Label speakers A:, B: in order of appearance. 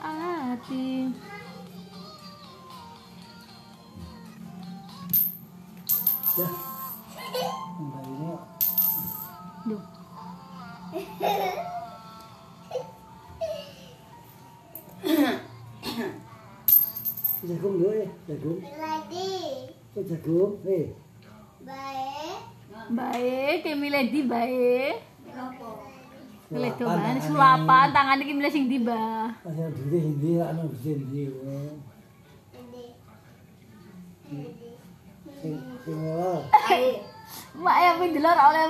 A: ati
B: Dah. Ang bayo mo.
A: Duh.
B: Jagung dulu eh. Jagung. Eh, jagung. Eh.
A: Bae, kayak milih di bae. Milih doban,
B: tangan.
A: sulapan, tangan iki milih sing di ba.
B: Ada duit hindi lah. Ano duit hindi. eh. Sing- sing ora.
A: Mak ya pindel ora oleh